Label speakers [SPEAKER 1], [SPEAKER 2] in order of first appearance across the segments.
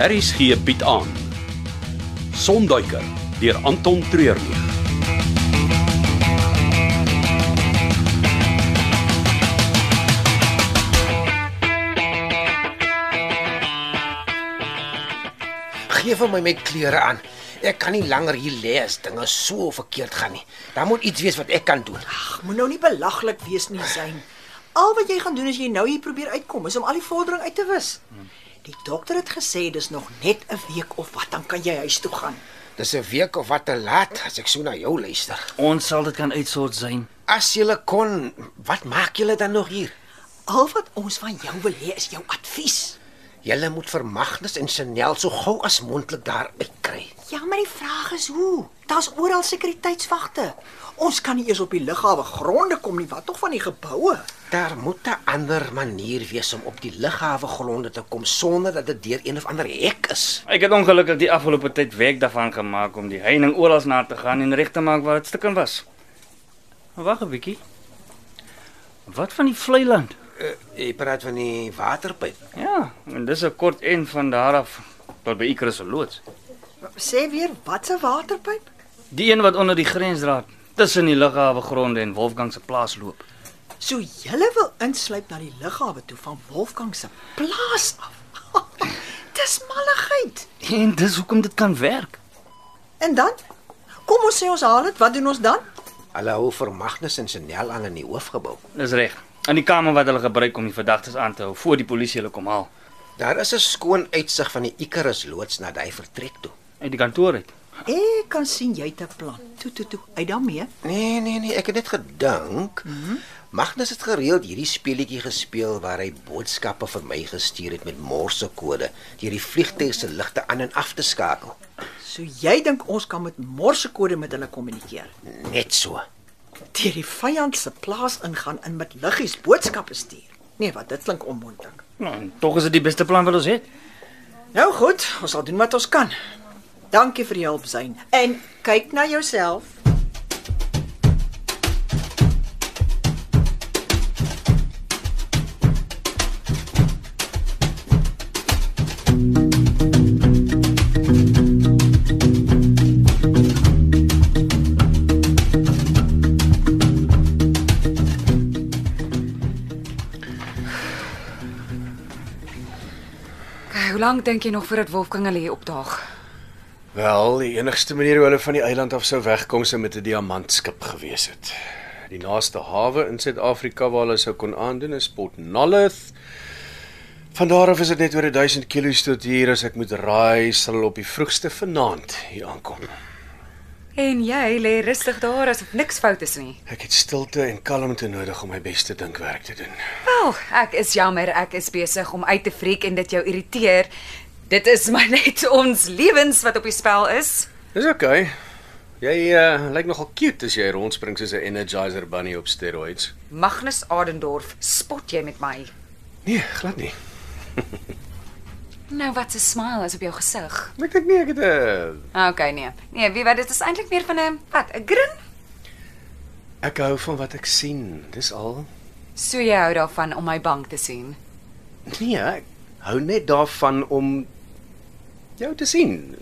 [SPEAKER 1] RSG bied aan Sonduiker deur Anton Treurnig.
[SPEAKER 2] Geef vir my my klere aan. Ek kan nie langer hier lê as dinge so verkeerd gaan nie. Daar moet iets wees wat ek kan doen.
[SPEAKER 3] Ag, moet nou nie belaglik wees nie, Zain. Al wat jy gaan doen as jy nou hier probeer uitkom, is om al die vordering uit te wis. Die dokter het gesê dis nog net 'n week of wat dan kan jy huis toe gaan.
[SPEAKER 2] Dis 'n week of wat te laat as ek so na jou luister.
[SPEAKER 4] Ons sal dit kan uitsort sien.
[SPEAKER 2] As jy kon, wat maak jy dan nog hier?
[SPEAKER 3] Al wat ons van jou wil hê is jou advies.
[SPEAKER 2] Jy moet vermagnis en Chanel so gou as moontlik daar uitkry.
[SPEAKER 3] Ja, maar die vraag is hoe? Daar's oral sekuriteitswagte. Ons kan nie eers op die lughawe gronde kom nie, wat tog van die geboue?
[SPEAKER 2] Daar moet 'n ander manier wees om op die lughawe gronde te kom sonder dat dit deur een of ander hek is.
[SPEAKER 4] Ek het ongelukkig die afgelope tyd werk daarvan gemaak om die heining oral na te gaan en reg te maak waar dit stukken was. Maar Wag 'n bietjie. Wat van die vlei land?
[SPEAKER 2] Uh, jy praat van die waterpyp.
[SPEAKER 4] Ja, en dis 'n kort en van daar af tot by Icarus se loods.
[SPEAKER 3] Sê weer, wat 'n waterpyp?
[SPEAKER 4] Die een wat onder die grensdraad tussen die lughawe gronde en Wolfgang se plaas loop.
[SPEAKER 3] So julle wil insluip na die lughawe toe van Wolfgang se plaas af. Dis malligheid.
[SPEAKER 4] En dis hoekom dit kan werk.
[SPEAKER 3] En dan? Kom ons sê ons haal dit. Wat doen ons dan?
[SPEAKER 2] Hulle hou vermagnis en Chanel aan in die hoofgebou.
[SPEAKER 4] Dis reg. In die kamer wat hulle gebruik om die verdagtes aan te hou voor die polisie hulle kom haal
[SPEAKER 2] Daar is 'n skoon uitsig van die Icarus loods na die vertrek toe.
[SPEAKER 4] uit die kantoor uit.
[SPEAKER 3] Ek kan sien jy het 'n plan. Toe toe toe, uit daarmee.
[SPEAKER 2] Nee, nee, nee, ek het net gedink. Mm -hmm. Magnus het gereeld hierdie speletjie gespeel waar hy boodskappe vir my gestuur het met morsekode deur die vliegtuig se ligte aan en af te skakel.
[SPEAKER 3] So jy dink ons kan met morsekode met hulle kommunikeer.
[SPEAKER 2] Net so.
[SPEAKER 3] Deur die vyand se plaas ingaan en met liggies boodskappe stuur. Nee, wat dit klink onmoontlik.
[SPEAKER 4] Nou, en tog is dit die beste plan wat ons het.
[SPEAKER 3] Nou goed, ons sal doen wat ons kan. Dankie vir die hulp, Zain. En kyk na jouself.
[SPEAKER 5] Okay, Eh, hoe lank dink jy nog voordat Wolfgang hulle hier opdaag?
[SPEAKER 6] Wel, die enigste manier hoe hulle van die eiland af sou wegkom sou met 'n diamantskip gewees het. Die naaste hawe in Suid-Afrika waar hulle sou kon aandoen is Port Nolloth. Van daar af is dit net oor 1000 km tot hier as ek moet raai, sal hulle op die vroegste vanaand hier aankom.
[SPEAKER 5] En jy lê rustig daar asof niks fout is nie.
[SPEAKER 6] Ek het stilte en kalmte nodig om my beste dinkwerk te doen.
[SPEAKER 5] Wel, ek is jammer, ek is besig om uit te freek en dit jou irriteer. Dit is maar net ons lewens wat op die spel is.
[SPEAKER 6] Dis oukei. Okay. Jy uh, lyk nogal cute as jy rondspring soos 'n energizer bunny op steroids.
[SPEAKER 5] Magnus Adendorf, spot jy met my?
[SPEAKER 6] Nee, glad nie.
[SPEAKER 5] Nou wat 'n smile is op jou gesig.
[SPEAKER 6] Ek dink nie ek het 'n uh,
[SPEAKER 5] Okay, nee. Nee, weet wat, dit is eintlik meer van 'n wat, 'n grin.
[SPEAKER 6] ek hou van wat ek sien, dis al.
[SPEAKER 5] So jy hou daarvan om my bang te sien.
[SPEAKER 6] Nee, ek hou net daarvan om jou te sien.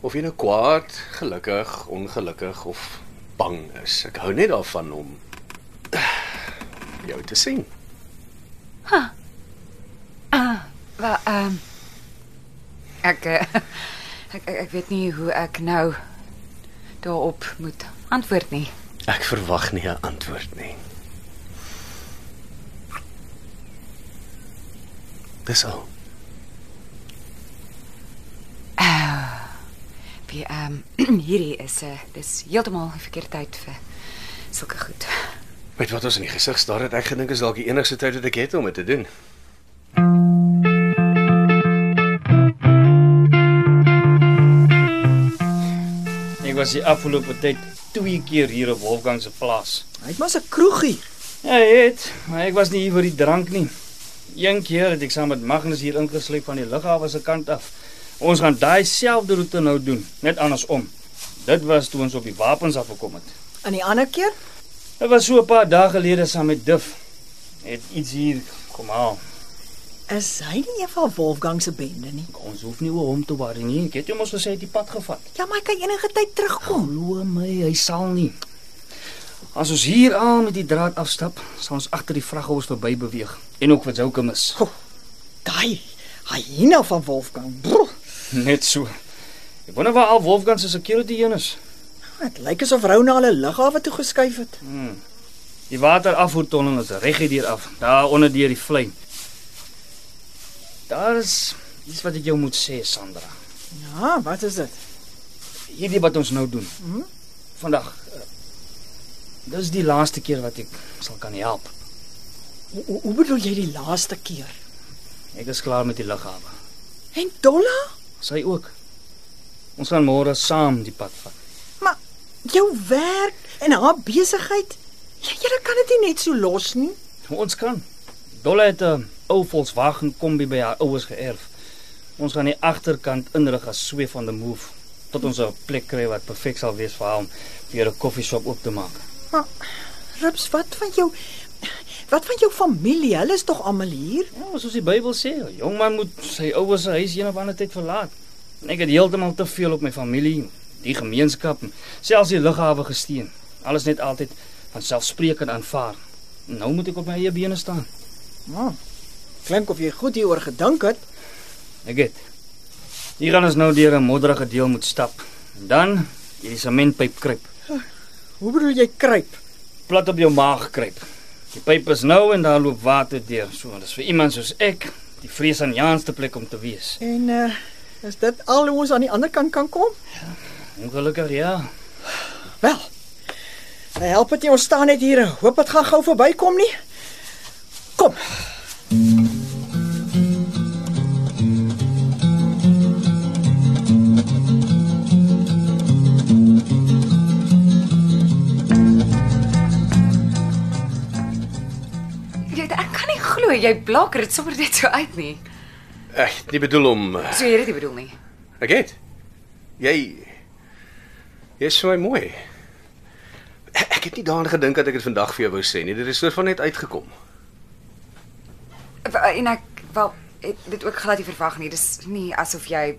[SPEAKER 6] Of jy nou kwaad, gelukkig, ongelukkig of bang is. Ek hou net daarvan om jou te sien.
[SPEAKER 5] Wel, ehm um, ek, eh, ek ek ek weet nie hoe ek nou daarop moet antwoord nie.
[SPEAKER 6] Ek verwag nie 'n antwoord nie. Dis al.
[SPEAKER 5] Wie ehm um, hierdie is 'n dis heeltemal die verkeerde tyd vir sulke goed.
[SPEAKER 6] Met wat ons in die gesig staar het, ek gedink is dalk die enigste tyd wat ek het om dit te doen.
[SPEAKER 4] Ek was die afgelope tyd twee keer hier op Wolfgang se plaas.
[SPEAKER 3] Hy het maar 'n kroegie.
[SPEAKER 4] Ja, jy het, maar ek was nie hier vir die drank nie. Een keer het ek saam met Magnus hier ingesluip van die lughawe se kant af. Ons gaan daai selfde roete nou doen, net andersom. Dit was toe ons op die wapens afgekom het.
[SPEAKER 3] En die ander keer?
[SPEAKER 4] Dit was so 'n paar dae gelede saam met Duf. Het iets hier kom haal.
[SPEAKER 3] Is hy nie een van Wolfgang se bende nie?
[SPEAKER 4] Ons hoef nie oor hom te worry nie. Ek het hom ons gesê hy het die pad gevat.
[SPEAKER 3] Ja, maar hy kan enige tyd terugkom.
[SPEAKER 4] Glo my, hy sal nie. As ons hier aan met die draad afstap, sal ons agter die vraghouers verby beweeg en ook wat Joukem is.
[SPEAKER 3] Daai hyena van Wolfgang. Brr,
[SPEAKER 4] Net so. Ek wonder waar al Wolfgang se security heen is.
[SPEAKER 3] dit lyk asof Rou na hulle lughawe toe geskuif het.
[SPEAKER 4] Die waterafvoertonnel is reguit hier af, daar onder deur die vlei. Daar is iets wat ek jou moet sê, Sandra.
[SPEAKER 3] Ja, wat is dit?
[SPEAKER 4] Hierdie wat ons nou doen. Vandag. eh, Dis die laaste keer wat ek sal kan help.
[SPEAKER 3] Hoe, hoe- hoe bedoel jy die laaste keer?
[SPEAKER 4] Ek is klaar met die lughawe.
[SPEAKER 3] En Dolla?
[SPEAKER 4] Sy ook. Ons gaan môre saam die pad vat.
[SPEAKER 3] Maar jou werk en haar besigheid, jy jy kan dit nie net so los nie.
[SPEAKER 4] Ons kan. Dolla het 'n ou Volkswagen kombi by haar ouers geërf. Ons gaan die agterkant inrig as sweef on the move tot ons 'n plek kry wat perfek sal wees vir haar om weer 'n koffieshop oop te maak.
[SPEAKER 3] Rips, wat van jou wat van jou familie? Hulle is tog almal hier?
[SPEAKER 4] Ja, maar soos die Bybel sê, 'n jong man moet sy ouers se huis een of ander tyd verlaat. En ek het heeltemal te veel op my familie, die gemeenskap, en selfs die lughawe gesteen. Alles net altyd van selfspreekend aanvaar. Nou moet ek op my eie bene staan.
[SPEAKER 3] Ja. Klink of jy goed hieroor gedink het.
[SPEAKER 4] Ek het. Hier gaan ons nou deur 'n modderige deel moet stap. En dan hierdie sementpyp kruip.
[SPEAKER 3] Hoe bedoel jy kruip?
[SPEAKER 4] Plat op jou maag kruip. Die pyp is nou en daar loop water deur. So, dis vir iemand soos ek die vrees aan jaanste plek om te wees.
[SPEAKER 3] En uh is dit al hoe ons aan die ander kant kan kom?
[SPEAKER 4] Ongelukkig ja.
[SPEAKER 3] Wel. Hy help dit nie ons staan net hier en hoop dit gaan gou verbykom nie. Kom.
[SPEAKER 5] Jy ek kan nie glo jy blaker dit sommer net so uit nie.
[SPEAKER 6] Ek het nie bedoel om eh,
[SPEAKER 5] So jy het dit bedoel nie.
[SPEAKER 6] ek het. Jy jy's so mooi. Ek ek het nie daaraan gedink dat ek dit vandag vir jou wou sê nie. Dit het soort van net uitgekom.
[SPEAKER 5] W- eh, En ek wel het dit ook glad nie verwag nie. Dis nie asof jy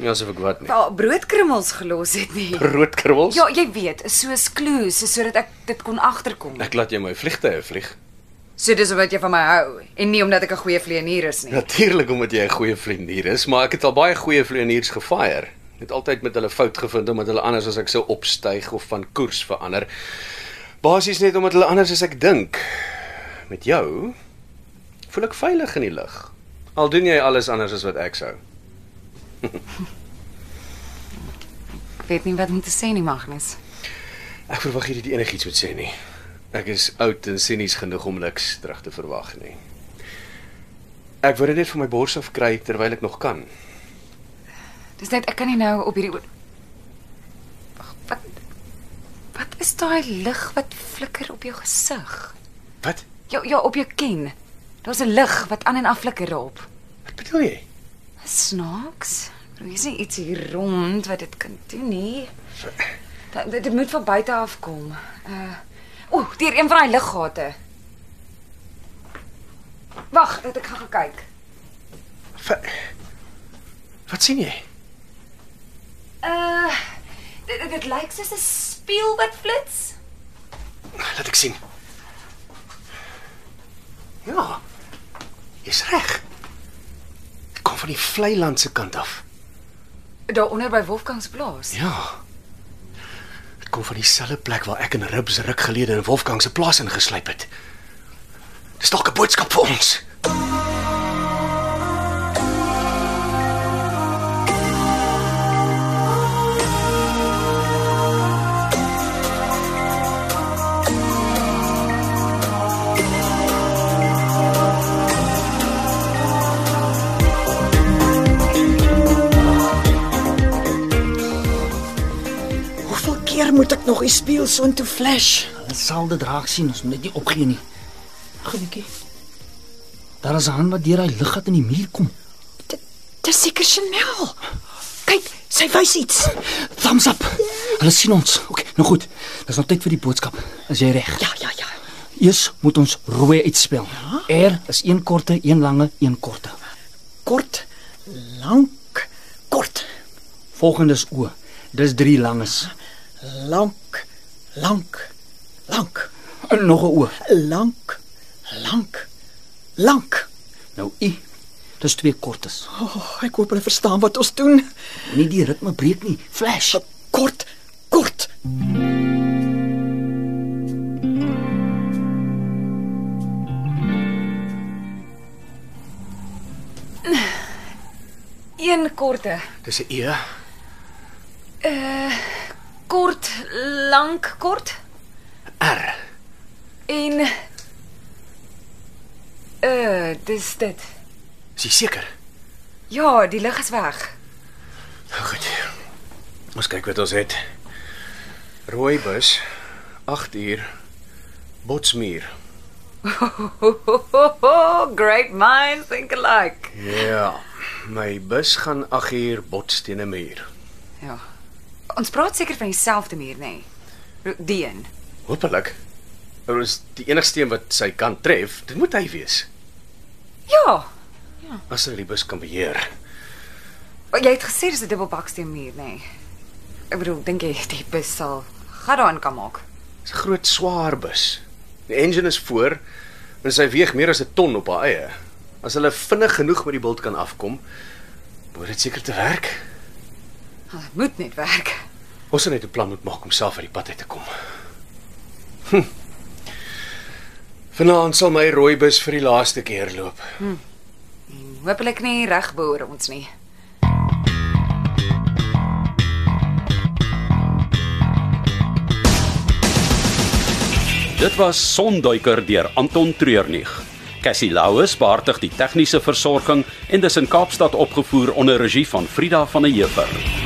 [SPEAKER 6] Nie asof ek wat nie.
[SPEAKER 5] wel broodkrummels gelos het nie.
[SPEAKER 6] Roodkrummels?
[SPEAKER 5] Ja, jy weet, soos clues sodat ek dit kon agterkom.
[SPEAKER 6] Ek laat jou my vliegtye vlieg.
[SPEAKER 5] So dis omdat jy van my hou en nie omdat ek 'n goeie vleienier is
[SPEAKER 6] Ja.
[SPEAKER 5] nie.
[SPEAKER 6] Natuurlik omdat jy 'n goeie vlieënier is, maar ek het al baie goeie vlieëniers gefire. Het altyd met hulle fout gevind omdat hulle anders as ek sou opstyg of van koers verander. Basies net omdat hulle anders as ek dink. Met jou voel ek veilig in die lug. Al doen jy alles anders as wat ek sou.
[SPEAKER 5] Ek weet nie wat om te sê nie, Magnus.
[SPEAKER 6] Ek verwag jy dit enigiets moet sê nie. Ek is oud en sinies genoeg om niks terug te verwag nie. Ek wou dit net van my bors af kry terwyl ek nog kan.
[SPEAKER 5] Dis net ek kan nie nou op hierdie oor- Ag, wat Wat is daai lig wat flikker op jou gesig?
[SPEAKER 6] Wat?
[SPEAKER 5] Ja, ja, op jou kin. Daar's 'n lig wat aan en af flikker daarop.
[SPEAKER 6] Wat bedoel jy?
[SPEAKER 5] Snaaks. Daar is nie iets hier rond wat dit kan doen nie. Dat- Dit, dit moet van buite af kom. Uh O, oh, deur een van daai liggate. Wag, dat ek gaan gaan kyk.
[SPEAKER 6] Wat, wat sien jy?
[SPEAKER 5] Uh dit, dit, dit lyk soos 'n spieël wat flits.
[SPEAKER 6] Laat ek sien. Ja. Jy's reg. Dit kom van die Vlei land se kant af.
[SPEAKER 5] Daaronder by Wolfgang se plaas.
[SPEAKER 6] Ja. Dit kom van dieselfde plek waar ek en Ribs ruk gelede in Wolfgang se plaas ingesluip het. Dis dalk 'n boodskap vir ons.
[SPEAKER 3] Hoeveel keer moet ek nog die spieël so intoe flash?
[SPEAKER 4] Hulle sal dit raak sien, ons moet net nie opgee nie. Wag 'n bietjie. Daar is 'n hand wat deur daai liggat in die muur kom.
[SPEAKER 3] Dit dis seker Chanel. Kyk, sy wys iets.
[SPEAKER 4] Thumbs up. Hulle sien ons. OK, nou goed. Dis nou tyd vir die boodskap. As jy reg.
[SPEAKER 3] Ja, ja, ja.
[SPEAKER 4] Eers moet ons rooi uitspel. Ja? R is een korte, een lange, een korte.
[SPEAKER 3] Kort, lank, kort,
[SPEAKER 4] Volgende is O. Dis drie langes.
[SPEAKER 3] Ja. lank, lank, lank,
[SPEAKER 4] En nog 'n O.
[SPEAKER 3] lank, lank, lank.
[SPEAKER 4] Nou U. Dis twee kortes.
[SPEAKER 3] O, oh, ek hoop hulle verstaan wat ons doen.
[SPEAKER 4] Nie die ritme breek nie. Flash.
[SPEAKER 3] Kort, kort.
[SPEAKER 5] Een korte.
[SPEAKER 6] Dis 'n E.
[SPEAKER 5] Kort, lank, kort
[SPEAKER 6] R.
[SPEAKER 5] en uh dis dit.
[SPEAKER 6] Is jy seker?
[SPEAKER 5] Ja, die lig is weg.
[SPEAKER 6] Nou goed. Ons kyk wat ons het. Rooi bus 8 uur Botsmuur.
[SPEAKER 5] Great minds think alike.
[SPEAKER 6] Ja, my bus gaan 8 uur bots teen 'n muur.
[SPEAKER 5] Ja. Ons praat seker van dieselfde muur, nê? Nee. Die een.
[SPEAKER 6] Hoopelik. Hulle is die enigste een wat sy kan tref. Dit moet hy wees
[SPEAKER 5] Ja.
[SPEAKER 6] as hy die bus kan beheer.
[SPEAKER 5] Jy het gesê dis 'n dubbelbaksteen muur, nê? Nee. Ek bedoel, dink jy die bus sal gaan daaraan kan maak?
[SPEAKER 6] Dis 'n groot swaar bus. Die engine is voor en sy weeg meer as 'n ton op haar eie. As hulle vinnig genoeg met die bult kan afkom, moet dit seker te werk.
[SPEAKER 5] Wel, Dit moet net werk.
[SPEAKER 6] Ons sal net 'n plan moet maak om self uit die pad uit te kom. Hm. Vanaand sal my rooi bus vir die laaste keer loop.
[SPEAKER 5] En hopelik nie reg behoor ons nie.
[SPEAKER 1] Dit was Sonduiker deur Anton Treurnig. Cassie Louws beheerdig die tegniese versorging en dis in Kaapstad opgevoer onder regie van Frida van der Heever.